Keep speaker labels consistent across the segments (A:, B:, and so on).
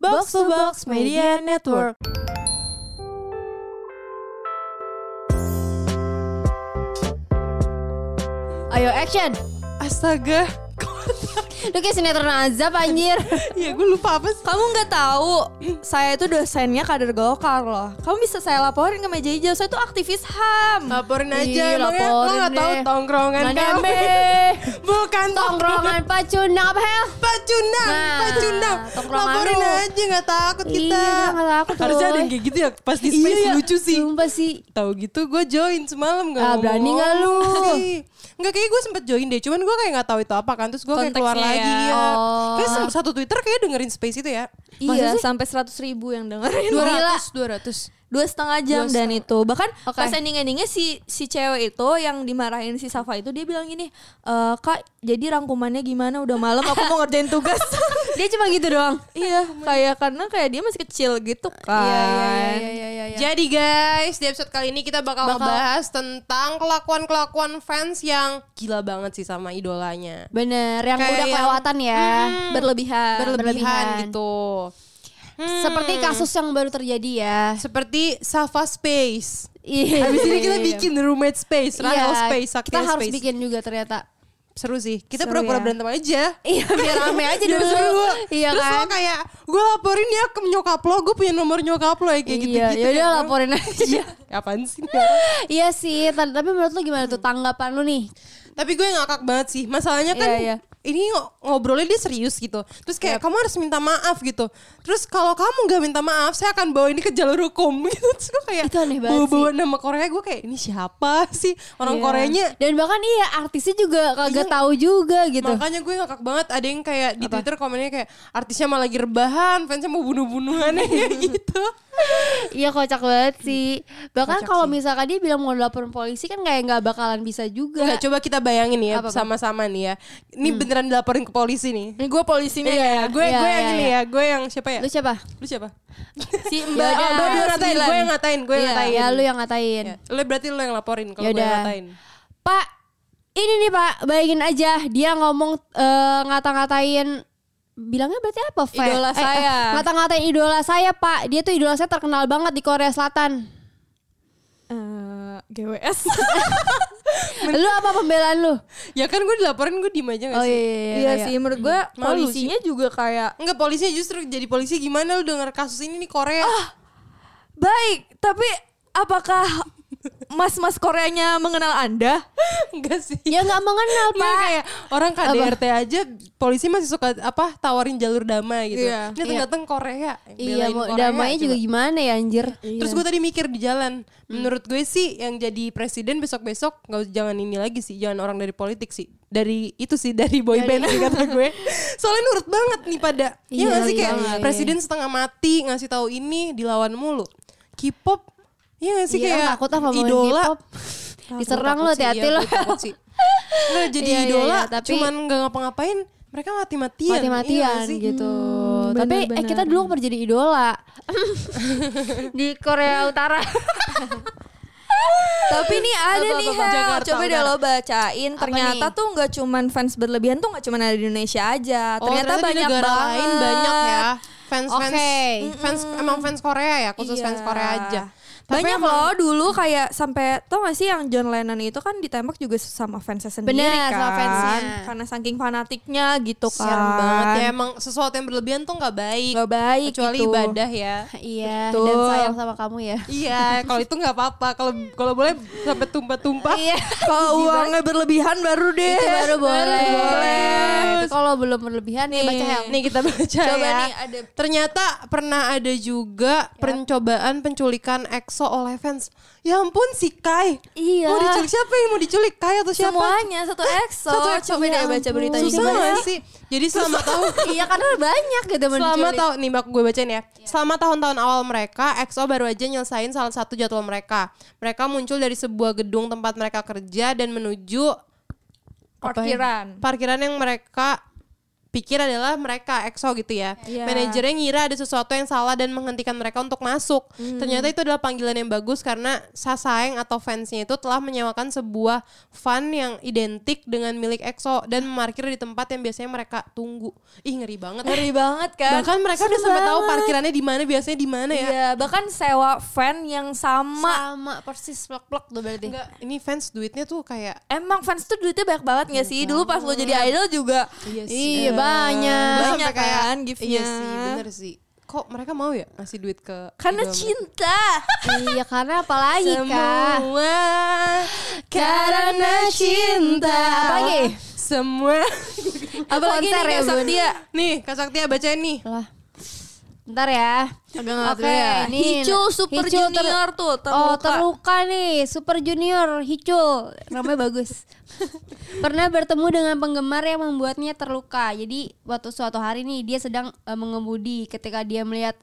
A: Box to Box Media Network.
B: Ayo action.
A: Astaga,
B: Lu kayak sinetron azab anjir.
A: ya gue lupa apa sih?
C: Kamu nggak tahu, saya itu dosennya kader Golkar loh. Kamu bisa saya laporin ke meja hijau, saya itu aktivis HAM.
A: Laporin aja,
B: Ih,
A: emangnya lo
B: laporin
A: gak tahu
B: deh.
A: tongkrongan
B: Mana
A: kami.
B: emang?
A: Bukan
B: Tongkrongan pacundang apa hel?
A: Pacundang,
B: Nah,
A: pacundang.
B: tongkrongan
A: Laporin
B: lu.
A: aja, gak takut kita.
B: Iya, gak takut
A: Harusnya ada yang
B: gue.
A: kayak gitu ya, pas di space
B: Iya,
A: lucu sih.
B: Sumpah sih.
A: Tahu gitu gue join semalam gak
B: Ah, berani
A: ngomong.
B: nggak lu?
A: Ih, Nggak kayak gue sempet join deh Cuman gue kayak gak tahu itu apa kan Terus gue kayak keluar
C: Konteksnya
A: lagi
C: ya.
A: ya
B: Oh.
A: Kayak sem- satu Twitter kayak dengerin space itu ya
C: Iya,
B: Iya.
C: sampai 100 ribu yang dengerin.
B: Dua- Gila.
A: 200
C: Dua setengah jam
A: Dua
C: dan itu. Bahkan
B: Oke.
C: pas ending-endingnya si, si cewek itu yang dimarahin si Safa itu, dia bilang gini, "Eh, Kak, jadi rangkumannya gimana? Udah malam aku mau ngerjain tugas.
B: Dia cuma gitu doang.
C: iya, kayak karena kayak dia masih kecil gitu kan.
B: Iya, iya, iya, iya, iya, iya.
A: Jadi guys, di episode kali ini kita bakal,
B: Bakal.
A: ngebahas tentang kelakuan-kelakuan fans yang gila banget sih sama idolanya.
B: Bener, yang
A: Kayak
B: udah
A: yang-
B: kelewatan ya.
C: Berlebihan. Mm.
A: Berlebihan,
B: Iya, berlebihan.
A: gitu. Hmm.
B: Seperti kasus yang baru terjadi ya.
A: seperti Safa Space.
B: Iya.
A: Habis ini kita bikin roommate space,
B: Iya,
A: Rahel space, Sakti
B: Kita harus
A: space.
B: bikin juga ternyata.
A: Seru sih. Kita
B: Seru
A: pura-pura
B: ya.
A: berantem aja.
B: Iya, biar rame aja
A: Biar
B: dulu.
A: seru.
B: Iya
A: Terus
B: kan?
A: lo kayak gue laporin ya ke nyokap lo, gue punya nomor nyokap lo ya kayak gitu-gitu.
B: Iya, yaudah
A: kan.
B: laporin aja.
A: Apaan sih?
B: iya sih, ta- tapi menurut lu gimana tuh tanggapan lu nih?
A: Tapi gue ngakak banget sih. Masalahnya kan
B: Iya, iya.
A: ini ngo- ngobrolnya dia serius gitu. Terus kayak kamu harus minta maaf gitu. Terus kalau kamu nggak minta maaf, saya akan bawa ini ke jalur hukum gitu. Terus gue kayak
B: Itu aneh banget
A: bawa-bawa nama Korea gue kayak ini siapa sih orang
B: Iya.
A: Koreanya?
B: Dan bahkan iya artisnya juga kagak
A: Iya.
B: tahu juga gitu.
A: Makanya gue ngakak banget ada yang kayak di Twitter komennya kayak artisnya malah lagi rebahan, fansnya mau bunuh-bunuhan kayak gitu.
B: Iya kocak banget sih.
A: Kocak
B: Bahkan kalau
A: sih.
B: misalkan dia bilang mau laporin polisi kan kayak nggak bakalan bisa juga.
A: Nggak, coba kita bayangin ya
B: Apa, Bang?
A: sama-sama nih ya. Ini
B: Hmm.
A: beneran dilaporin ke polisi nih.
C: Ini gue polisinya
A: Iya,
C: ya.
A: gue
B: Iya,
A: gue yang
B: iya,
A: ini
B: iya.
A: ya, gue yang siapa ya?
B: Lu siapa?
A: Lu siapa?
C: Si
A: Mbak,
C: Mbak
A: oh, gue yang ngatain, gue yang ngatain, gue yang
B: Iya,
A: ngatain.
B: ya lu yang ngatain.
A: Ya, Lo berarti lo yang laporin kalau gue
B: Yaudah.
A: yang ngatain.
B: Pak, ini nih Pak, bayangin aja dia ngomong eh, ngata-ngatain bilangnya berarti apa? Fe?
C: Idola saya.
B: eh, ngata-ngatain idola saya, Pak. Dia tuh idola saya terkenal banget di Korea Selatan.
C: Eh, GWS.
B: Lu apa pembelaan lu?
A: Ya kan gue dilaporin gue diem aja gak
B: Oh
A: sih?
B: iya,
C: Iya
B: iya,
C: sih menurut gue
A: Malu
C: polisinya juga kayak
A: Enggak polisinya justru jadi polisi gimana lu denger kasus ini nih Korea.
B: Ah.
C: baik, tapi apakah mas-mas Koreanya mengenal Anda?
A: Enggak sih.
B: Ya nggak mengenal,
A: Nggak,
B: Pak.
A: kayak orang KDRT aja polisi masih suka apa tawarin jalur damai gitu.
C: Iya.
A: Ini datang Korea. belain
B: Iya, mau
A: Korea Iya.
B: damainya juga
A: coba.
B: gimana ya anjir?
A: Terus gue tadi mikir di jalan,
B: Hmm.
A: menurut gue sih yang jadi presiden besok-besok nggak usah- jangan ini lagi sih, jangan orang dari politik sih. Dari itu sih dari boy band sih kata gue. Soalnya nurut banget nih pada. Iya
B: Iya,
A: nggak sih
B: iya,
A: kayak
B: iya, iya.
A: presiden setengah mati ngasih tahu ini dilawan mulu. K-pop Iya gak sih
B: Iya,
A: kayak
B: takut sama
A: idola
B: K-pop. Diserang lo
A: iya,
B: hati-hati lo.
A: Nggak jadi
B: Iya, iya,
A: idola
B: iya, tapi-
A: cuman nggak ngapa-ngapain mereka mati-matian. iya
B: mati-matian
A: nggak sih?
B: gitu.
C: Hmm,
B: Tapi eh
C: benar-benar.
B: kita dulu pernah jadi idola Gitu. di Korea Utara.
C: tapi nih
A: Apa,
C: ada
A: apa,
C: nih
A: apa,
C: Hel.
A: Jakarta
C: coba deh
A: Utara.
C: lo bacain.
B: Apa
C: Ternyata
B: nih?
C: tuh nggak cuman fans berlebihan tuh nggak cuman ada di Indonesia aja.
A: Oh,
C: ternyata,
A: ternyata di
C: banyak
A: negara
C: banget.
A: lain banyak ya fans fans
B: Oke.
A: fans emang fans Korea ya khusus
C: Iya.
A: fans Korea aja. Tapi
C: banyak
A: emang-
C: loh dulu kayak sampai tau gak sih yang John Lennon itu kan ditembak juga sama fansnya sendiri kan
B: Bener, sama fansnya.
C: karena saking fanatiknya gitu kan
A: Siaran banget ya emang sesuatu yang berlebihan tuh nggak baik.
C: Nggak baik
A: kecuali
C: gitu.
A: ibadah ya.
B: iya,
C: Betul.
B: dan sayang sama kamu ya.
A: iya, kalau itu nggak apa-apa. Kalau kalau boleh sampai tumpah-tumpah. Iya.
B: Iya.
C: Kalau uangnya berlebihan baru deh.
B: Itu baru boleh.
C: boleh.
B: Tapi Kalau belum berlebihan nih baca Hel.
A: Nih kita ya baca
C: Coba
A: ya.
C: nih, ada-
A: Ternyata pernah ada juga
C: Ya.
A: pencobaan penculikan EXO oleh fans. Ya ampun si Kai.
B: Iya.
A: Mau diculik siapa yang mau diculik? Kai atau siapa?
C: Semuanya satu EXO.
A: Satu EXO.
C: Coba deh
A: Ya
C: baca
A: ampun.
C: beritanya
A: Susah
C: gimana.
A: gak sih? Jadi selama tahun
B: iya karena banyak gitu yang
A: Selama
B: diculik.
A: tahun nih bak gue bacain ya. Selama tahun-tahun awal mereka, EXO baru aja nyelesain salah satu jadwal mereka. Mereka muncul dari sebuah gedung tempat mereka kerja dan menuju apa ya?
C: Parkiran.
A: Parkiran yang mereka pikir adalah mereka EXO gitu ya.
C: Iya.
A: Manajernya ngira ada sesuatu yang salah dan menghentikan mereka untuk masuk.
C: Hmm.
A: Ternyata itu adalah panggilan yang bagus karena Sasaeng atau fansnya itu telah menyewakan sebuah van yang identik dengan milik EXO dan memarkir di tempat yang biasanya mereka tunggu. Ih ngeri banget.
C: Ngeri banget kan.
A: Bahkan mereka
C: Seru
A: udah sampai tahu
C: banget.
A: parkirannya di mana biasanya di mana ya.
C: Iya, bahkan sewa fan yang sama.
B: sama persis plek-plek tuh berarti.
A: Enggak, ini fans duitnya tuh kayak
C: Emang fans tuh duitnya banyak banget gak sih? Dulu pas lo jadi idol juga
A: iya
B: Iya banyak.
A: Sampai
C: Banyak
A: kayak,
C: kan gift-nya.
A: Iya sih, bener sih. Kok mereka mau ya ngasih duit ke
C: karena
A: idol mereka?
C: cinta.
B: iya karena apalagi kak.
A: Semua
B: Karena cinta. Apalagi?
A: Semua.
C: Apalagi nih
B: Konser ya,
C: Kak
B: Bun.
C: Saktia.
A: nih, Kak Saktia bacain nih.
B: Lah. Bentar ya.
C: Agak
B: Oke, ini
C: Hicul Super
B: Hicul ter-
C: Junior tuh
B: Oh,
C: terluka.
B: terluka nih, Super Junior Hicul. Namanya bagus. Pernah bertemu dengan penggemar yang membuatnya terluka. Jadi, waktu suatu hari nih dia sedang eh, mengemudi ketika dia melihat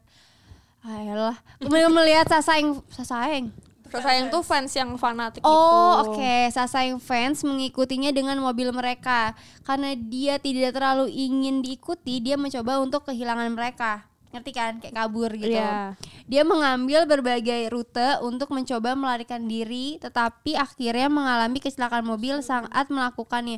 B: Ayolah, kemudian melihat Sasaeng Sasaeng.
C: Sayang tuh fans yang fanatik
B: Oh,
C: gitu.
B: oke. Sasaeng fans mengikutinya dengan mobil mereka. Karena dia tidak terlalu ingin diikuti, dia mencoba untuk kehilangan mereka. Ngerti kan? Kayak kabur gitu.
C: Iya.
B: Dia mengambil berbagai rute untuk mencoba melarikan diri, tetapi akhirnya mengalami kecelakaan mobil saat melakukannya.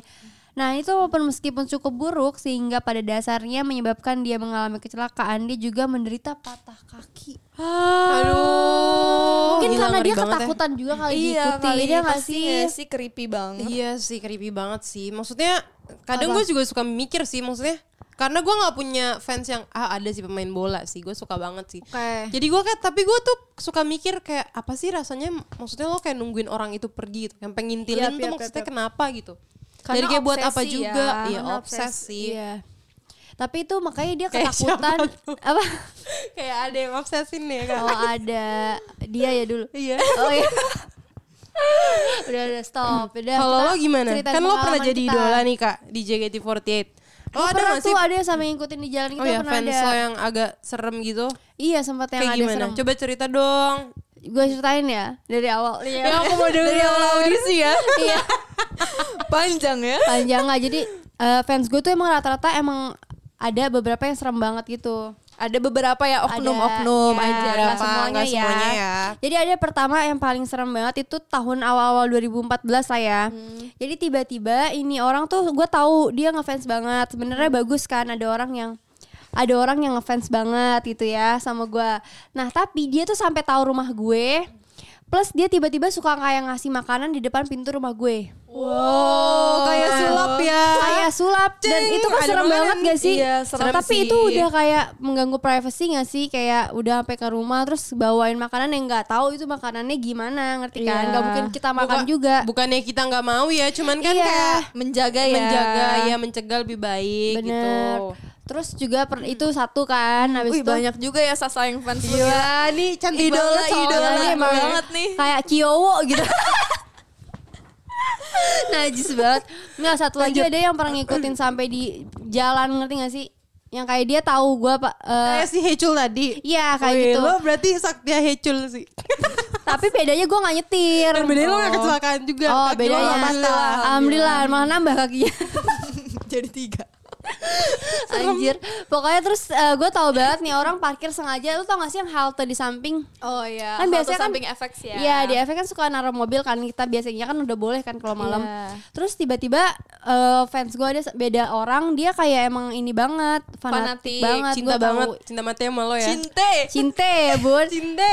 B: Nah, itu walaupun meskipun cukup buruk sehingga pada dasarnya menyebabkan dia mengalami kecelakaan, dia juga menderita patah kaki.
C: gitu. ah,
A: Aduh.
B: Oh. Mungkin
A: gila,
B: karena
A: ngeri
B: dia
A: banget ya.
B: ketakutan juga kali diikuti,
C: Iya, kali
B: dia nggak
C: pasti
B: sih?
C: nggak sih creepy banget.
A: Iya sih, creepy banget sih. Maksudnya kadang gue juga suka mikir sih maksudnya. Karena gue nggak punya fans yang ah ada sih pemain bola sih, gue suka banget sih.
B: Oke.
A: Jadi gue kayak tapi gue tuh suka mikir kayak apa sih rasanya? Maksudnya lo kayak nungguin orang itu pergi gitu, yang pengen
C: Yap,
B: Iya,
A: ngintilin tuh
C: yap,
A: maksudnya
C: yap, yap.
A: kenapa gitu?
C: Karena
A: Jadi kayak buat apa
C: obsesi
A: juga?
C: ya.
A: Iya
C: Karena
A: obses
C: obsesi,
A: sih.
B: Iya. Tapi itu makanya dia
A: Kayak
B: ketakutan
A: siapa tuh?
B: apa?
A: kayak ada yang obsesin nih kan?
B: Oh ada dia ya dulu.
A: Iya.
B: Oh iya. udah udah stop. Udah.
A: Kalau
B: kita
A: lo gimana?
B: ceritain
A: Kan lo pernah
B: pengalaman
A: jadi
B: kita.
A: idola nih kak di JKT48. Lo
B: Lo
A: ada
B: pernah
A: gak sih?
B: tuh ada yang sama yang ngikutin di jalan kita
A: Oh ya
B: pernah
A: fans
B: ada.
A: lo yang agak serem gitu.
B: Iya sempat yang
A: kayak
B: ada
A: gimana?
B: serem.
A: Coba cerita dong.
B: Gue ceritain ya dari awal. Iya.
A: Ya aku mau dengerin awal audisi ya.
B: Iya.
C: Panjang ya.
B: Panjang nggak? Jadi eh, fans gue tuh emang rata-rata emang ada beberapa yang serem banget gitu.
C: Ada beberapa ya oknum-oknum aja.
B: Ada, ya,
A: Berapa,
B: nggak semuanya,
A: nggak semuanya
B: ya.
A: ya.
B: Jadi ada pertama yang paling serem banget itu tahun awal-awal 2014 lah ya. Jadi tiba-tiba ini orang tuh gue tahu dia ngefans banget. Sebenarnya bagus kan ada orang yang ada orang yang ngefans banget gitu ya sama gue. Nah tapi dia tuh sampai tahu rumah gue. Plus dia tiba-tiba suka kayak ngasih makanan di depan pintu rumah gue.
A: Oh kayak sulap ya.
B: Kayak sulap dan
A: Cing,
B: itu kan
A: ada
B: serem
A: makanan.
B: banget gak sih?
C: Iya, serem
B: Tapi
C: sih.
B: itu udah kayak mengganggu privacy gak sih? Kayak udah sampai ke rumah terus bawain makanan yang nggak tahu itu makanannya gimana, ngerti kan?
C: Iya.
B: Gak mungkin kita makan
A: Bukan-
B: juga.
A: Bukannya kita nggak mau ya, cuman kan
B: Iya.
A: kayak
C: Menjaga ya.
A: menjaga ya mencegah lebih baik gitu.
B: Bener. Terus juga per- itu satu kan habis
C: Wih
B: itu
C: banyak juga ya sasa yang fans lu.
A: Gila nih cantik
C: Idola,
A: banget soalnya.
C: idola.
B: Iya,
C: Banyak
B: emang.
C: banget nih.
B: Kayak Kiowo gitu. Najis banget. Nggak satu lagi ada yang pernah ngikutin sampai di jalan ngerti gak sih? Yang kayak dia tahu gue pak. eh,
A: Kayak si Hecul tadi.
B: Iya kayak
A: Wih,
B: gitu.
A: Lo berarti Saktia Hecul sih.
B: Tapi bedanya gue nggak nyetir.
A: Dan bedanya lo gak kecelakaan juga.
B: Oh
A: Kaki Iya. lo
B: bedanya.
A: nggak patah.
B: Alhamdulillah. Alhamdulillah. Malah nambah ya. kakinya.
C: Jadi tiga.
B: Anjir. Pokoknya terus gue tahu banget nih orang parkir sengaja. Lu tau gak sih yang halte di samping?
C: Oh iya.
B: Kan biasanya kan-
C: samping efek ya.
B: Iya di efek kan suka naruh mobil kan kita biasanya kan udah boleh kan kalau malam.
C: Iya.
B: Terus tiba-tiba eh, fans gue ada beda orang dia kayak emang ini banget
C: Fanatik,
B: fanatik, Eh, banget
A: Cinta
B: gua tahu.
A: banget. Cinta mati sama lo ya.
C: Cinte.
B: Cinta ya bun.
A: Cinta.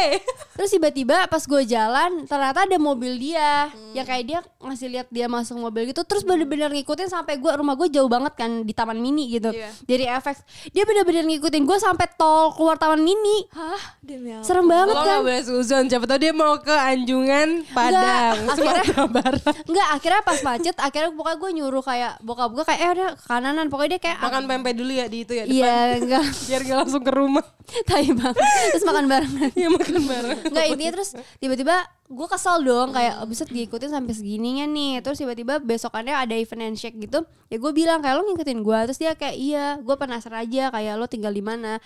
B: Terus tiba-tiba pas gue jalan ternyata ada mobil dia
A: Hmm.
B: yang kayak dia ngasih lihat dia masuk mobil gitu terus bener-bener ngikutin sampai gua rumah gue jauh banget kan di taman mini gitu
C: Iya.
B: dari FX dia bener-bener ngikutin gue sampai tol keluar taman mini
C: Hah? Demi Allah.
B: serem banget
A: Ya Lo
B: kan
A: gak boleh seuzon. Siapa tau dia mau ke Anjungan, Padang,
B: akhirnya-
A: Sumatera Barat.
B: Enggak, akhirnya pas macet, akhirnya pokoknya gue nyuruh kayak bokap gue kayak eh udah ke kananan, pokoknya dia kayak
A: Makan pempek dulu ya di itu ya. Depan.
B: Iya, enggak.
A: Biar gak langsung ke rumah.
B: Tai banget. Terus makan barengan.
A: Iya makan bareng.
B: Enggak intinya terus tiba-tiba gue kesel dong kayak abis itu diikutin sampai segininya nih terus tiba-tiba besokannya ada event handshake gitu ya gue bilang kayak lo ngikutin gue terus dia kayak iya gue penasaran
A: Iya,
B: aja kayak lo tinggal di mana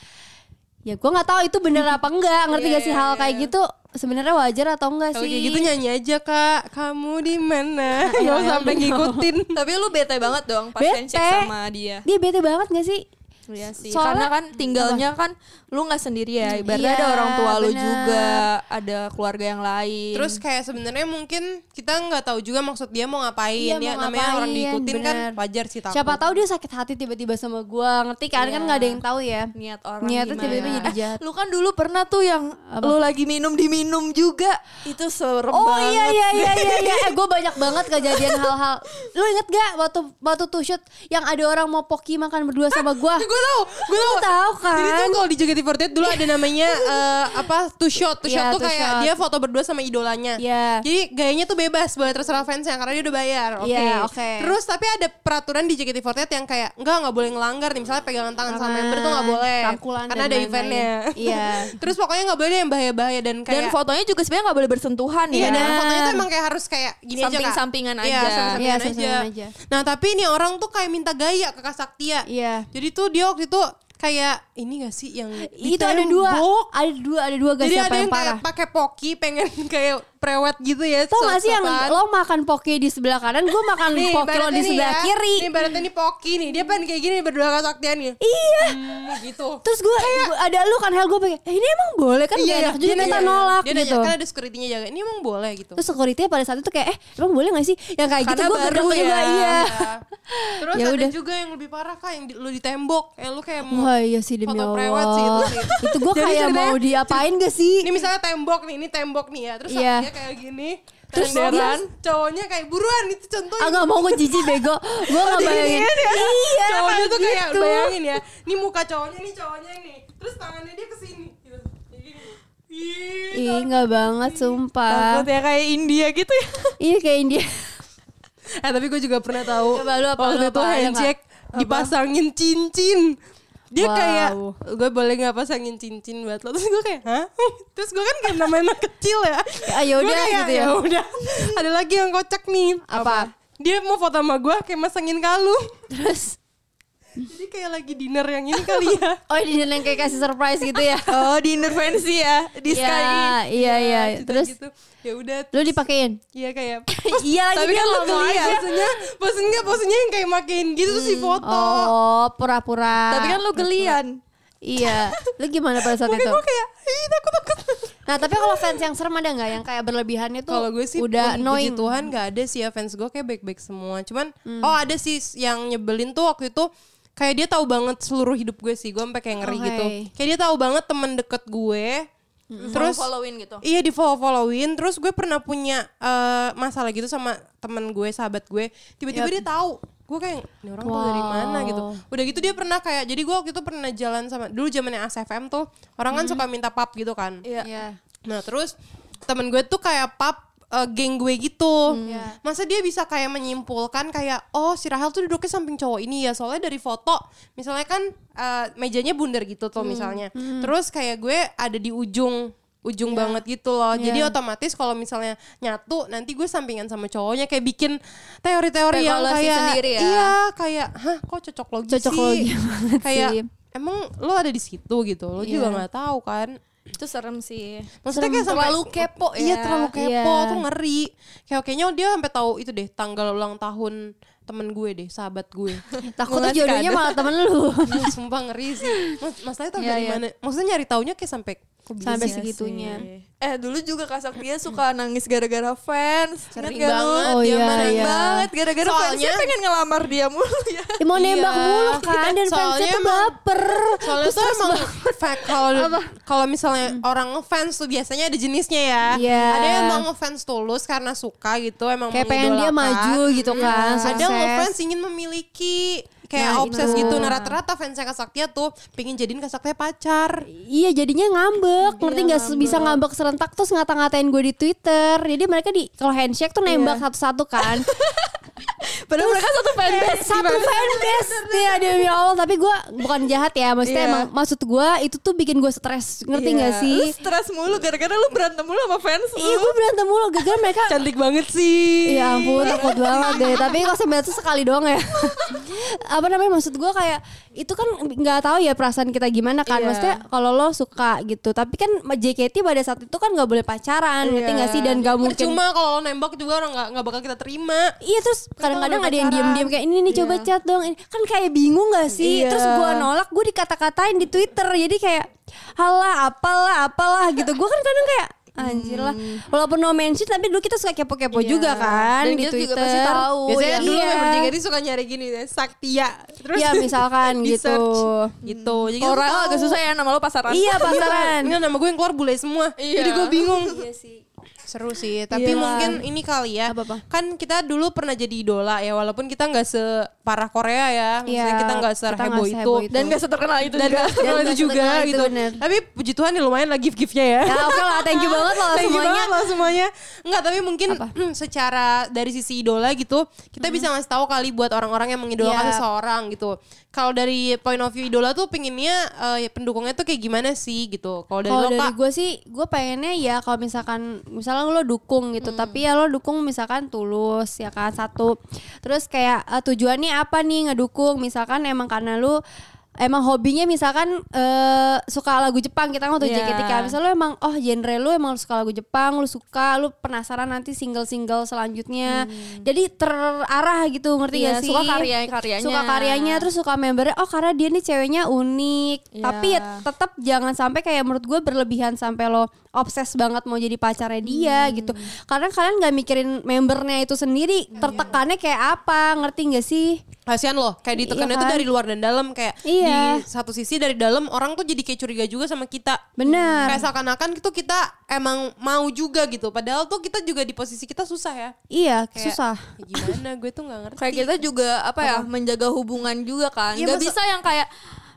B: ya gue nggak tahu itu bener apa enggak ngerti gak sih hal kayak gitu sebenarnya wajar atau enggak
A: Kalau
B: sih?
A: kayak gitu nyanyi aja kak, kamu di mana? Gak usah
B: Iya,
A: sampai ngikutin.
C: Tapi lu bete banget dong pas handshake
B: Bete.
C: sama
A: ya?
C: dia.
B: Dia bete banget gak sih?
C: Iya sih. Karena
B: Soalnya-
C: kan tinggalnya kan lu nggak sendiri ya. Ibaratnya
B: Iya,
C: ada orang tua lu
B: bener.
C: juga, ada keluarga yang lain.
A: Terus kayak sebenarnya mungkin kita nggak tahu juga maksud dia mau ngapain.
B: Iya,
A: ya,
B: mau
A: namanya orang
B: ngapain,
A: diikutin kan
B: bener.
A: wajar sih takut. Iya.
B: Siapa tahu dia sakit hati tiba-tiba sama gua, ngerti kan? Kan nggak ada yang tahu ya.
C: niat orang
B: Niatnya
C: gimana.
B: tiba-tiba jadi
C: Eh,
B: jahat.
C: lu kan dulu pernah tuh yang lu lagi minum diminum juga. Itu serem
B: Oh
C: banget.
B: iya iya iya iya iya. Eh, gue banyak banget kejadian hal-hal. Lu inget gak waktu waktu tuh shoot yang ada orang mau poki makan berdua sama gua?
A: Gue tahu, gue tahu.
B: Lu tahu kan?
A: Jadi tuh kalau di JKT48 dulu ada namanya eh, apa two shot, two
B: Iya,
A: shot tuh
B: two
A: kayak
B: shot.
A: dia foto berdua sama idolanya.
B: Iya.
A: Jadi gayanya tuh bebas, boleh terserah fansnya karena dia udah bayar. Oke.
B: Iya, oke.
A: Terus tapi ada peraturan di JKT48 yang kayak enggak nggak boleh ngelanggar nih misalnya pegangan tangan sama member tuh nggak boleh.
B: Rangkulan
A: karena
B: Ah,
A: ada
B: dan lain-lain.
A: eventnya.
B: Iya.
A: Terus pokoknya nggak boleh ada yang bahaya-bahaya dan
C: Dan
A: kayak
C: fotonya juga sebenarnya nggak boleh bersentuhan
A: Iya,
C: ya.
A: dan fotonya tuh emang kayak harus kayak gini aja Kak.
C: Samping-sampingan
A: Iya,
C: aja.
B: Iya,
A: samping-sampingan aja.
B: samping-sampingan aja.
A: Nah, tapi ini orang tuh kayak minta gaya ke Kak Saktia.
B: Iya.
A: Jadi tuh dia waktu itu kayak ini gak sih yang di
B: Itu ada dua,
A: tembok?
B: ada dua, ada dua guys
A: Jadi
B: siapa
A: ada
B: yang
A: yang kayak
B: parah.
A: pakai poki pengen kayak prewet gitu ya.
B: Tau gak sih yang
A: sop-sopan.
B: lo makan poki di sebelah kanan, gue makan poki lo
A: ibaratnya
B: di
A: nih
B: sebelah
A: ya,
B: kiri.
A: Nih ibaratnya nih poki nih. Dia pengen kayak gini berdua Kak Saktia nih.
B: Iya.
A: Hmm, gitu.
B: Terus gue ada lu kan Hel gue pengen, eh, ini emang boleh kan? Iya, enak juga
A: dia
B: minta
A: nanya-
B: nolak
A: dia
B: gitu.
A: nanya, kan ada security-nya jaga. Ini emang boleh gitu.
B: Terus security pada saat itu kayak, eh emang boleh gak sih? Yang kayak gitu
C: Karena
B: gue
C: baru
B: gedeng
C: ya.
B: juga, iya.
A: Iya. Terus
B: Ya
A: ada
B: udah.
A: juga yang lebih parah kak yang di, lu ditembok, eh lu kayak mau.
B: Wah iya sih demi
A: Foto
B: Allah.
A: prewed sih itu sih.
B: itu gue
A: Jadi
B: kayak
A: ceritanya-
B: mau diapain gak sih?
A: Ini misalnya tembok nih, ini tembok nih ya. Terus
B: Iya.
A: dia kayak gini.
B: Terus
A: Terus dia, cowoknya kayak buruan itu contohnya.
B: Ah gak mau gue jijik bego. Gue gak bayangin. Iya.
A: cowoknya tuh kayak
B: gitu.
A: bayangin ya. Ini muka cowoknya, ini cowoknya ini. Terus tangannya dia kesini. Gitu. Kayak gini. Ih,
B: Ih gak banget sumpah.
C: Takut ya kayak India gitu ya.
B: Iya kayak India.
A: Eh tapi gue juga pernah tahu
B: Coba lu apa,
A: waktu
B: lu
A: itu
B: apa, ada
A: handshake dipasangin cincin. Dia
B: Wow.
A: kayak gue boleh nggak pasangin cincin buat lo? Terus gue kayak, hah? Terus gue kan kayak namanya anak kecil ya.
B: Ya, ya
A: Gue
B: udah,
A: kayak,
B: gitu ya.
A: "Ya udah. Ada lagi yang kocak nih.
B: Apa?
A: Dia mau foto sama gue kayak masangin kalung.
B: Terus.
A: Jadi kayak lagi dinner yang ini kali ya.
B: Oh ini yang kayak kasih surprise gitu ya.
C: Oh di intervensi ya di
B: Iya,
C: Sky.
B: Iya iya.
A: Cita
B: Terus
A: gitu. ya udah.
B: lu dipakein.
A: Iya kayak
B: Iya lagi
A: tapi
B: dia
A: kan lu
B: ngomong
A: ngeliat
B: aja. Hmm.
A: posenya posenya posenya yang kayak makin gitu terus di foto
B: Oh pura-pura.
C: Tapi kan lu gelian.
B: Iya. Lu gimana pada saat
A: Makanya
B: itu?
A: gue kayak ih takut takut
B: Nah tapi kalau fans yang serem ada nggak yang kayak berlebihannya tuh?
A: Kalau gue sih pun,
B: udah
A: puji
B: annoying. Hmm.
A: Tuhan gak ada sih ya fans gue kayak baik-baik semua. Cuman oh ada sih yang nyebelin tuh waktu itu kayak dia tahu banget seluruh hidup gue sih. Gue sampai kayak ngeri
B: Oke.
A: gitu. Kayak dia tahu banget temen deket gue. Terus
C: followin gitu.
A: Iya di follow followin terus gue pernah punya eh, masalah gitu sama temen gue sahabat gue
B: Iya.
A: tiba-tiba dia tahu gue kayak ini orang tuh dari mana gitu udah gitu dia pernah kayak jadi gue waktu itu pernah jalan sama dulu zamannya ASFM tuh orang kan suka minta pap gitu kan
C: Iya.
A: Nah terus temen gue tuh kayak pap eh, geng gue gitu.
B: Iya.
A: Masa dia bisa kayak menyimpulkan kayak oh si Rahel tuh duduknya samping cowok ini ya soalnya dari foto misalnya kan eh, mejanya bundar gitu
B: Hmm.
A: tuh misalnya. Terus kayak gue ada di ujung ujung
B: Iya.
A: banget gitu loh. Jadi otomatis kalau misalnya nyatu nanti gue sampingan sama cowoknya kayak bikin teori-teori yang
C: Spekulasi
A: kayak
C: sendiri ya.
A: iya kayak hah kok cocok logi
B: Cocok
A: sih?"
B: logi banget
A: kayak
B: sih. Iya.
A: emang lo ada di situ gitu. Lo juga nggak tahu kan.
C: Itu serem sih.
A: Maksudnya
B: Serem.
A: kayak sampai-
C: Terlalu kepo ya.
A: Iya terlalu kepo
B: Iya.
A: tuh ngeri. Kayak kayaknya dia sampai tahu itu deh tanggal ulang tahun temen gue deh, sahabat gue.
B: Takutnya
C: Ngeliat
B: jodohnya
C: kado.
B: malah temen lu.
A: Iya, Sumpah ngeri sih. Mas, masalahnya tahu
B: Iya,
A: dari
B: iya.
A: mana? Maksudnya nyari taunya kayak sampai kok bisa
B: Sampai
A: sih?
B: segitunya.
C: Eh dulu juga Kak Saktia suka nangis gara-gara fans.
A: Sering
C: Ingat gak lu?
A: banget,
B: Oh,
A: dia
B: iya,
A: marah
B: iya.
C: banget gara-gara
A: Soalnya-
C: fansnya pengen ngelamar dia mulu ya.
B: Ya, mau nembak
A: Iya.
B: mulu kan
A: Soalnya
B: dan fansnya tuh
A: emang-
B: baper.
A: Soalnya tuh emang fact kalau kalau misalnya orang ngefans tuh biasanya ada jenisnya ya.
B: Iya.
A: Ada yang emang ngefans tulus karena suka gitu, emang
B: Kayak pengen dia
A: mengidolakan.
B: maju gitu
A: Iya.
B: kan,
A: Ada yang
B: sukses.
A: ngefans ingin memiliki kayak
B: Nah,
A: obses
B: itu.
A: gitu. Nah, rata-rata fansnya Kak Saktia tuh pengen jadiin Kak Saktia pacar.
B: Iya jadinya ngambek,
A: Iya,
B: ngerti nggak bisa ngambek serentak terus
A: Iya.
B: ngata-ngatain gue di Twitter. Jadi mereka di kalau handshake tuh nembak satu-satu kan.
C: Padahal mereka satu fanbase.
B: satu fanbase ya demi Allah tapi gue bukan jahat ya maksudnya
C: Iya.
B: emang maksud gue itu tuh bikin gue stres ngerti nggak
C: Iya.
B: sih
C: Lu stres mulu gara-gara lu berantem mulu sama fans
B: iya
C: lu.
B: gue berantem mulu gara mereka
A: Cantik banget sih.
B: Ya ampun takut banget deh Tapi kok sebenarnya tuh sekali doang ya Apa namanya maksud gue kayak Itu kan nggak tahu ya perasaan kita gimana kan
C: Iya.
B: Maksudnya kalau lo suka gitu Tapi kan JKT pada saat itu kan nggak boleh pacaran Ngerti
C: Iya.
B: gak sih dan gak Ah, mungkin
A: Percuma kalau lo nembak juga orang nggak nggak bakal kita terima.
B: Iya terus kadang-kadang
C: nggak
B: ada yang
C: pacaran.
B: diem-diem kayak ini nih coba
C: Iya.
B: chat dong ini. Kan kayak bingung gak sih
C: Iya.
B: Terus gue nolak gue dikata-katain di Twitter Jadi kayak halah apalah apalah gitu Gue kan kadang kayak anjir lah Walaupun no mention tapi dulu kita suka kepo-kepo
C: Iya.
B: juga kan
C: Dan
B: di
C: kita
B: Twitter
C: juga pasti tahu ya.
A: Biasanya
B: yang-
A: dulu
B: Iya.
A: member JKT suka nyari gini deh, Saktia. Terus
B: Iya, misalkan
A: di
B: gitu.
A: search. Gitu. Jadi kita
C: Orang
A: tahu.
C: agak susah ya nama lu pasaran.
B: ah, Iya pasaran
A: Enggak nama gue yang keluar bule semua.
C: Iya.
A: Jadi gue bingung.
B: Iya sih
A: Seru sih, tapi
B: Iya.
A: mungkin ini kali ya.
B: Apa-apa?
A: Kan kita dulu pernah jadi idola ya, walaupun kita nggak separah Korea ya. Maksudnya
B: Iya,
A: kita nggak
B: kita nggak
A: seheboh itu.
B: seheboh itu.
C: Dan gak seterkenal itu
A: Dan
C: juga.
A: nggak seterkenal
B: Dan
A: itu
B: nggak
A: juga
B: seterkenal itu,
A: gitu.
B: bener.
A: Tapi puji Tuhan ya lumayan lah gift-giftnya ya.
B: Ya oke lah thank you banget loh
A: Thank you
B: semuanya
A: banget loh semuanya. Enggak, tapi mungkin hmm, secara dari sisi idola gitu, kita bisa ngasih tahu kali buat orang-orang yang mengidolakan
B: Iya.
A: seseorang gitu. Kalau dari point of view idola tuh pinginnya eh, ya pendukungnya tuh kayak gimana sih gitu. Kalau dari lo
B: Kalau dari
A: Kak,
B: gue sih, gue pengennya ya kalau misalkan, misalnya lo dukung gitu, tapi ya lo dukung misalkan tulus ya kan satu. Terus kayak eh, tujuannya apa nih ngedukung? Misalkan emang karena lo emang hobinya misalkan eh, suka lagu Jepang kita waktu
C: Iya.
B: JKT kan misalnya lo emang oh genre lo emang suka lagu Jepang lo suka lo penasaran nanti single-single selanjutnya jadi terarah gitu ngerti
C: Iya,
B: gak sih
C: suka karya-karyanya.
B: suka karyanya terus suka membernya oh karena dia nih ceweknya unik
C: Iya.
B: tapi ya tetap jangan sampai kayak menurut gue berlebihan sampai lo obses banget mau jadi pacarnya dia gitu karena kalian nggak mikirin membernya itu sendiri tertekannya kayak apa ngerti nggak sih
A: kasihan loh kayak ditekannya
B: Iya
A: tuh
B: kan?
A: dari luar dan dalam kayak
B: Iya.
A: di satu sisi dari dalam orang tuh jadi kayak curiga juga sama kita.
B: benar
A: Kayak seakan-akan itu kita emang mau juga gitu. Padahal tuh kita juga di posisi kita susah ya.
B: iya
A: Kayak,
B: susah
A: "Ya Gimana gue tuh nggak ngerti.
C: Kayak kita juga apa ya menjaga hubungan juga kan.
A: Iya,
C: nggak
A: maksud-
C: bisa yang kayak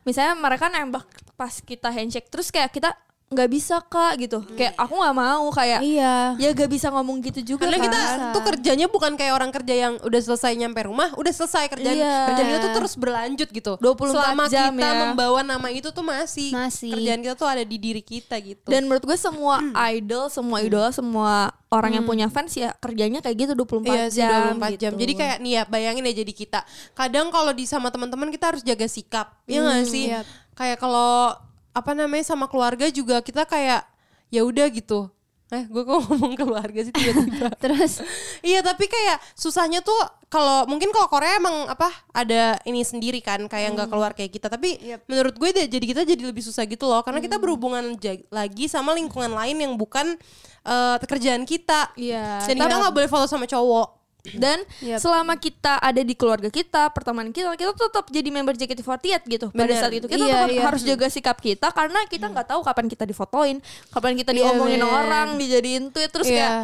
C: misalnya mereka nembak pas kita handshake terus kayak kita nggak bisa kak gitu.
A: Hmm.
C: Kayak aku nggak mau kayak
B: iya
C: ya gak bisa ngomong gitu juga
A: Karena
C: kan.
A: kita tuh kerjanya bukan kayak orang kerja yang udah selesai nyampe rumah, udah selesai kerjaan.
C: Iya.
A: Kerjaan kita tuh terus berlanjut gitu.
C: 24
A: Selama
C: jam
A: kita
C: ya.
A: membawa nama itu tuh masih,
B: Masih.
A: kerjaan kita tuh ada di diri kita gitu.
C: Dan menurut gue semua
A: Hmm.
C: idol, semua idola, semua orang yang punya fans ya kerjanya kayak gitu 24
A: Iya sih,
C: jam.
A: 24 jam.
C: gitu.
A: Jadi kayak nih ya bayangin ya jadi kita. Kadang kalau di sama teman-teman kita harus jaga sikap. Iya
C: Hmm,
A: nggak sih?
B: iya.
A: Kayak kalau apa namanya sama keluarga juga kita kayak ya udah gitu. Eh, gue kok ngomong keluarga sih tiba-tiba.
B: terus
A: Iya tapi kayak susahnya tuh kalau mungkin kalau Korea emang apa ada ini sendiri kan kayak nggak keluar kayak kita tapi menurut gue deh jadi kita jadi lebih susah gitu loh karena kita berhubungan ja- lagi sama lingkungan lain yang bukan eh, kerjaan kita
C: Iya.
A: dan kita nggak boleh follow sama cowok
C: Dan
B: Yap.
C: selama kita ada di keluarga kita, pertemanan kita, kita tetap jadi member JKT48 gitu. Pada
A: Bener.
C: saat itu kita
B: Iya,
C: tetap
B: iya.
C: harus jaga sikap kita karena kita nggak tahu kapan kita difotoin, kapan kita diomongin
B: bener.
C: orang, dijadiin tweet
A: Iya.
C: terus kayak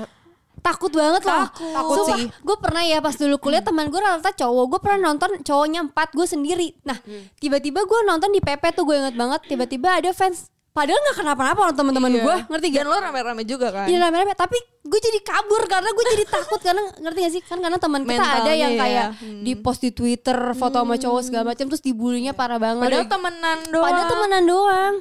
B: takut banget loh
C: Takut.
A: Takut sih.
B: gue pernah ya pas dulu kuliah teman gue rata cowok gue pernah nonton cowoknya empat gue sendiri nah tiba-tiba gue nonton di PP tuh gue inget banget tiba-tiba ada fans padahal nggak kenapa-napa orang teman-teman
C: Iya.
B: gue ngerti gak
C: Dan lo rame-rame juga kan.
B: Iya rame-rame tapi gue jadi kabur karena gue jadi takut karena ngerti gak sih kan karena teman kita ada
C: Mentalnya
B: yang
C: ya.
B: kayak
A: Hmm.
B: di post di Twitter foto sama cowok segala macam terus dibulinya
A: Iya.
B: parah banget.
A: kan
C: Padahal temenan doang.
B: Padahal iya temenan doang.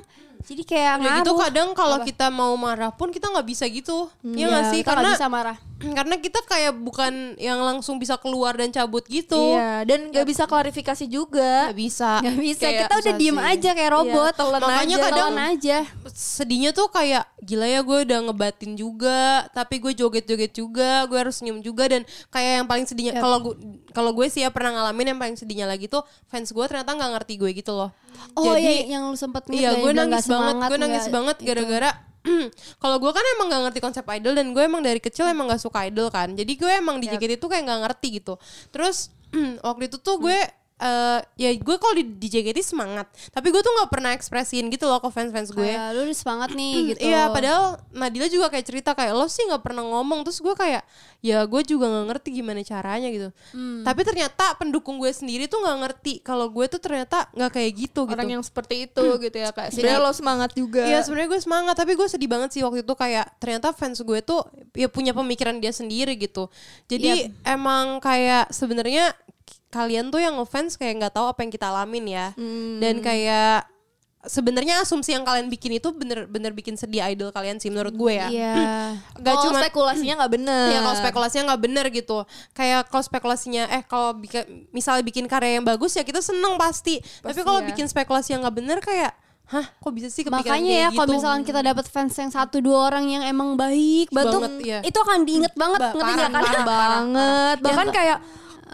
B: Jadi kayak
A: Udah
B: ngaruh.
A: gitu kadang kalau kita mau marah pun kita nggak bisa gitu Iya nggak sih
B: kita nggak
A: karena
B: bisa marah.
A: karena kita kayak bukan yang langsung bisa keluar dan cabut gitu
C: Iya, dan nggak bisa klarifikasi juga.
A: nggak bisa
B: Gak bisa
C: Kayak
B: kita udah
C: susah
B: diem
C: sih.
B: aja kayak robot.
C: Iya, telan
A: Makanya
B: aja,
A: kadang-
B: telan aja.
A: sedihnya tuh kayak gila ya gue udah ngebatin juga tapi gue joget-joget juga gue harus senyum juga dan kayak yang paling sedihnya kalau gue kalau gue sih ya pernah ngalamin yang paling sedihnya lagi tuh fans gue ternyata nggak ngerti gue gitu loh
B: Oh
A: Jadi-
B: iya yang lu sempet
A: Iya, gue nangis banget, gue nangis
B: banget
A: banget gara-gara kalau gue kan emang gak ngerti konsep idol dan gue emang dari kecil emang gak suka idol kan. Jadi gue emang di JKT itu kayak gak ngerti gitu. Terus waktu itu tuh gue
B: Hmm.
A: eh, ya gue kalau di, di JKT semangat tapi gue tuh nggak pernah ekspresiin gitu loh ke fans fans gue
B: Kayak Iya, lu udah semangat nih gitu.
A: Iya, padahal Nadila juga kayak cerita kayak lo sih nggak pernah ngomong. Terus gue kayak ya gue juga nggak ngerti gimana caranya gitu.
C: Hmm.
A: Tapi ternyata pendukung gue sendiri tuh nggak ngerti kalau gue tuh ternyata nggak kayak gitu gitu.
C: orang yang seperti itu gitu ya kak sebenarnya lo semangat juga
A: Iya sebenarnya gue semangat tapi gue sedih banget sih waktu itu kayak ternyata fans gue tuh ya punya pemikiran dia sendiri gitu.
C: Iya.
A: Jadi emang kayak sebenarnya k- kalian tuh yang ngefans kayak nggak tahu apa yang kita alamin ya.
C: Hmm.
A: Dan kayak sebenarnya asumsi yang kalian bikin itu bener-bener bikin sedih idol kalian sih menurut gue ya.
B: Iya.
A: Gak
C: Kalau
A: cuma
C: spekulasinya nggak bener
A: Ya
B: Eh.
A: kalau spekulasinya nggak bener gitu. Kayak kalau spekulasinya eh kalau bika- misalnya bikin karya yang bagus ya kita seneng pasti. Tapi kalau
C: ya.
A: bikin spekulasi yang nggak bener kayak hah kok bisa sih kepikiran
B: Makanya
A: kayak
B: ya
A: gitu?
B: kalau misalkan kita dapat fans yang satu dua orang yang emang baik banget,
A: Banget,
B: tuh,
A: iya.
B: itu akan diinget banget
A: Ba-
B: ngerti
A: parah,
B: nggak kan?
A: parah,
C: banget bahkan kayak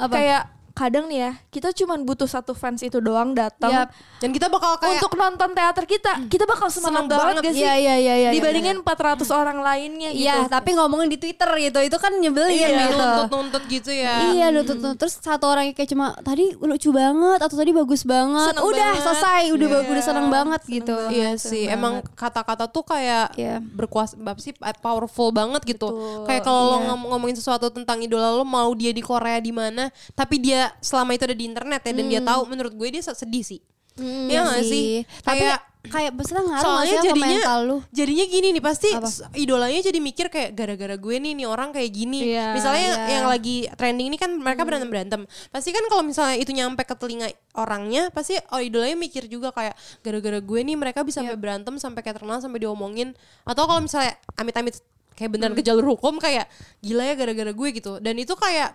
B: Apa?
C: kayak kadang nih ya kita cuma butuh satu fans itu doang datang
B: Yap. Hmm.
A: Dan kita bakal kayak
C: untuk nonton teater kita kita bakal semangat
A: Seneng
C: banget,
A: banget,
C: gak sih
B: Iya iya iya iya.
C: dibandingin 400 orang lainnya gitu
B: Iya, tapi ngomongin di Twitter gitu, itu kan nyebelin
A: iya,
B: gitu.
A: nuntut-nuntut gitu ya.
B: Iya, nuntut nuntut. Terus satu orang yang kayak cuma tadi lucu banget atau tadi bagus banget.
C: Seneng
B: udah
C: banget.
B: selesai, udah
C: Iya.
B: bagus, udah seneng banget gitu.
A: Iya sih, emang kata-kata tuh kayak
B: Iya.
A: berkuasa, apa sih eh, powerful banget gitu. Kayak kalau
B: iya.
A: lo ngom- ngomongin sesuatu tentang idola lo mau dia di Korea di mana, tapi dia selama itu ada di internet ya dan dia
B: Hmm.
A: tahu, menurut gue dia sedih sih. Iya nggak sih?
B: Tapi
A: Kayak
B: kayak maksudnya ngaruh nggak
A: soalnya
B: sih ke
A: jadinya
B: mental lu?
A: jadinya gini nih pasti s- idolanya jadi mikir kayak gara-gara gue nih nih orang kayak gini
C: Iya,
A: misalnya
B: iya.
A: yang lagi trending ini kan
C: Hmm.
A: mereka berantem berantem pasti kan kalau misalnya itu nyampe ke telinga orangnya pasti oh idolanya mikir juga kayak gara-gara gue nih mereka bisa
C: Iya.
A: sampai berantem sampai kayak terkenal sampai diomongin atau kalau misalnya amit-amit kayak
C: Hmm.
A: beneran ke jalur hukum kayak gila ya gara-gara gue gitu dan itu kayak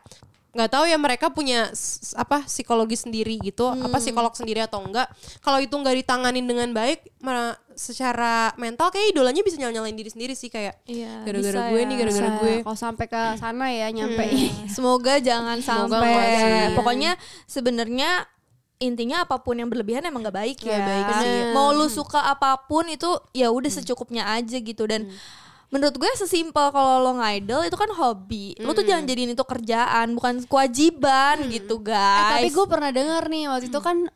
A: nggak tahu ya mereka punya s- apa psikologi sendiri gitu
C: Hmm.
A: apa psikolog sendiri atau enggak kalau itu nggak ditanganin dengan baik ma- secara mental kayak idolanya bisa nyala nyalain diri sendiri sih kayak
C: Iya,
A: gara-gara
C: bisa
A: gue
C: ya.
A: nih gara-gara
B: Bisa,
A: gue
B: Nah, kalau sampai ke sana ya nyampe.
C: Semoga jangan
A: Semoga
C: sampai.
A: nggak sih.
C: Pokoknya sebenarnya intinya apapun yang berlebihan emang gak baik ya.
A: Nggak baik sih.
C: Bener. Mau lu suka apapun itu ya udah secukupnya aja gitu dan menurut gue sesimpel kalau lo ngidol itu kan hobi. Lu tuh jangan jadiin itu kerjaan, bukan kewajiban gitu
B: Eh,
C: guys.
B: tapi gue pernah dengar nih waktu itu kan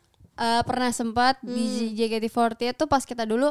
B: eh, pernah sempat
C: Hmm.
B: di JKT48 tuh pas kita dulu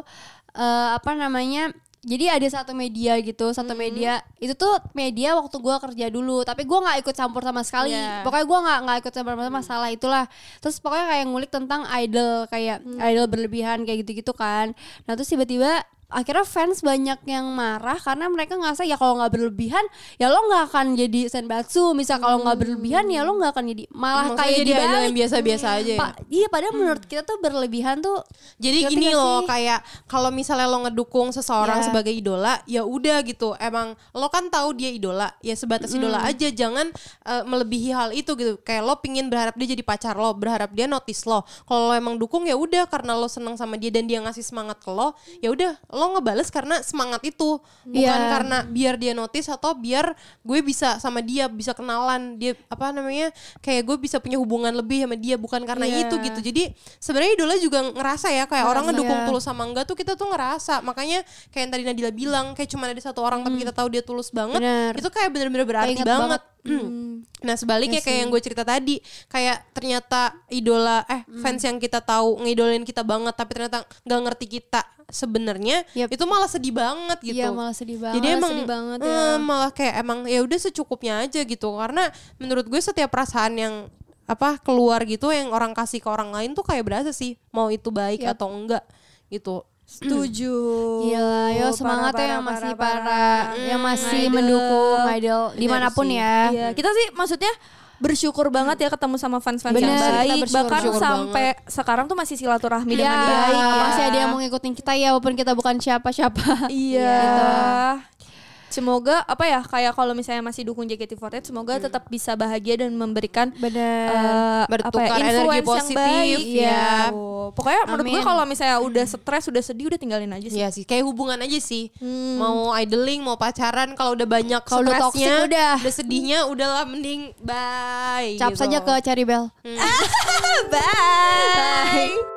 B: eh, apa namanya jadi ada satu media gitu, satu
C: Hmm.
B: media itu tuh media waktu gua kerja dulu, tapi gua nggak ikut campur sama sekali.
C: Iya. Hmm.
B: Pokoknya gua nggak nggak ikut campur sama masalah itulah. Terus pokoknya kayak ngulik tentang idol kayak
C: Hmm.
B: idol berlebihan kayak gitu-gitu kan. Nah terus tiba-tiba akhirnya fans banyak yang marah karena mereka ngerasa ya kalau nggak berlebihan ya lo nggak akan jadi senbatsu. Misal kalau
C: Hmm.
B: nggak berlebihan ya lo nggak akan jadi malah malah
A: Maksudnya
B: kayak
A: jadi idol
B: dibalik.
A: yang biasa-biasa aja ya?
B: Pa- iya padahal menurut kita tuh berlebihan tuh
A: Jadi
B: Ngerti
A: gini
B: gak
A: loh
B: sih?
A: kayak kalau misalnya lo ngedukung seseorang
B: Ya.
A: sebagai idola, ya udah gitu. Emang lo kan tahu dia idola, ya sebatas idola aja, jangan eh, melebihi hal itu gitu. Kayak lo pingin berharap dia jadi pacar lo, berharap dia notice lo. Kalau lo emang dukung ya udah karena lo seneng sama dia dan dia ngasih semangat ke lo, ya udah lo ngebales karena semangat itu, bukan
B: Iya.
A: karena biar dia notice atau biar gue bisa sama dia bisa kenalan, dia apa namanya? kayak gue bisa punya hubungan lebih sama dia bukan karena
C: Iya.
A: itu gitu. Jadi sebenarnya idola juga ngerasa ya kayak orang
B: Ngerasa,
A: ngedukung
B: ya.
A: tulus sama enggak tuh kita tuh ngerasa. Makanya kayak yang tadi Nadila bilang kayak cuma ada satu orang tapi kita tahu dia tulus banget.
B: Bener.
A: Itu kayak bener-bener berarti
B: Keinget
A: banget.
B: banget. Mm.
A: Hmm. Nah
B: Iya
A: sebaliknya kayak yang gue cerita tadi kayak ternyata idola eh
B: Hmm.
A: fans yang kita tahu ngidolain kita banget tapi ternyata nggak ngerti kita sebenarnya
B: Yep.
A: itu malah sedih banget gitu.
B: Iya, malah sedih banget.
A: Jadi
B: Malah
A: emang
B: sedih banget,
A: eh,
B: ya.
A: malah kayak emang ya udah secukupnya aja gitu karena menurut gue setiap perasaan yang apa keluar gitu yang orang kasih ke orang lain tuh kayak berasa sih mau itu baik
B: Yap.
A: atau enggak gitu
C: setuju.
B: Gila, Iya, yo
C: Parah,
B: semangat tuh
C: parah,
B: yang masih
C: parah,
B: para,
C: parah.
B: yang masih
C: Idol.
B: mendukung idol dimanapun
A: sih.
B: ya.
C: Iya, kita sih maksudnya bersyukur banget ya ketemu sama fans-fans yang
B: Bener, kita
C: baik.
B: bersyukur,
C: Bahkan
A: bersyukur
C: sampai sekarang tuh masih silaturahmi
B: Ya,
C: dengan baik. ya.
B: masih ada yang mau ngikutin kita ya walaupun kita bukan siapa-siapa.
C: Iya. Semoga apa ya kayak kalau misalnya masih dukung JKT48 semoga
B: Iya.
C: tetap bisa bahagia dan memberikan
B: Bener.
C: eh,
A: Bertukar
C: apa ya, influence
A: energi
C: yang
A: positif,
C: baik,
A: ya.
C: gitu. Pokoknya menurut gue
B: iya. Amin.
C: kalau misalnya udah stres, udah sedih, udah tinggalin aja sih. Hmm.
A: Iya sih, kayak hubungan aja sih.
B: Hmm.
A: Mau idoling, mau pacaran, kalau udah banyak
B: Kalau udah
A: stresnya,
B: toxic, udah.
A: sedihnya, udahlah mending bye.
B: Cap
A: gitu.
B: saja ke Cherry Bell.
C: Bye.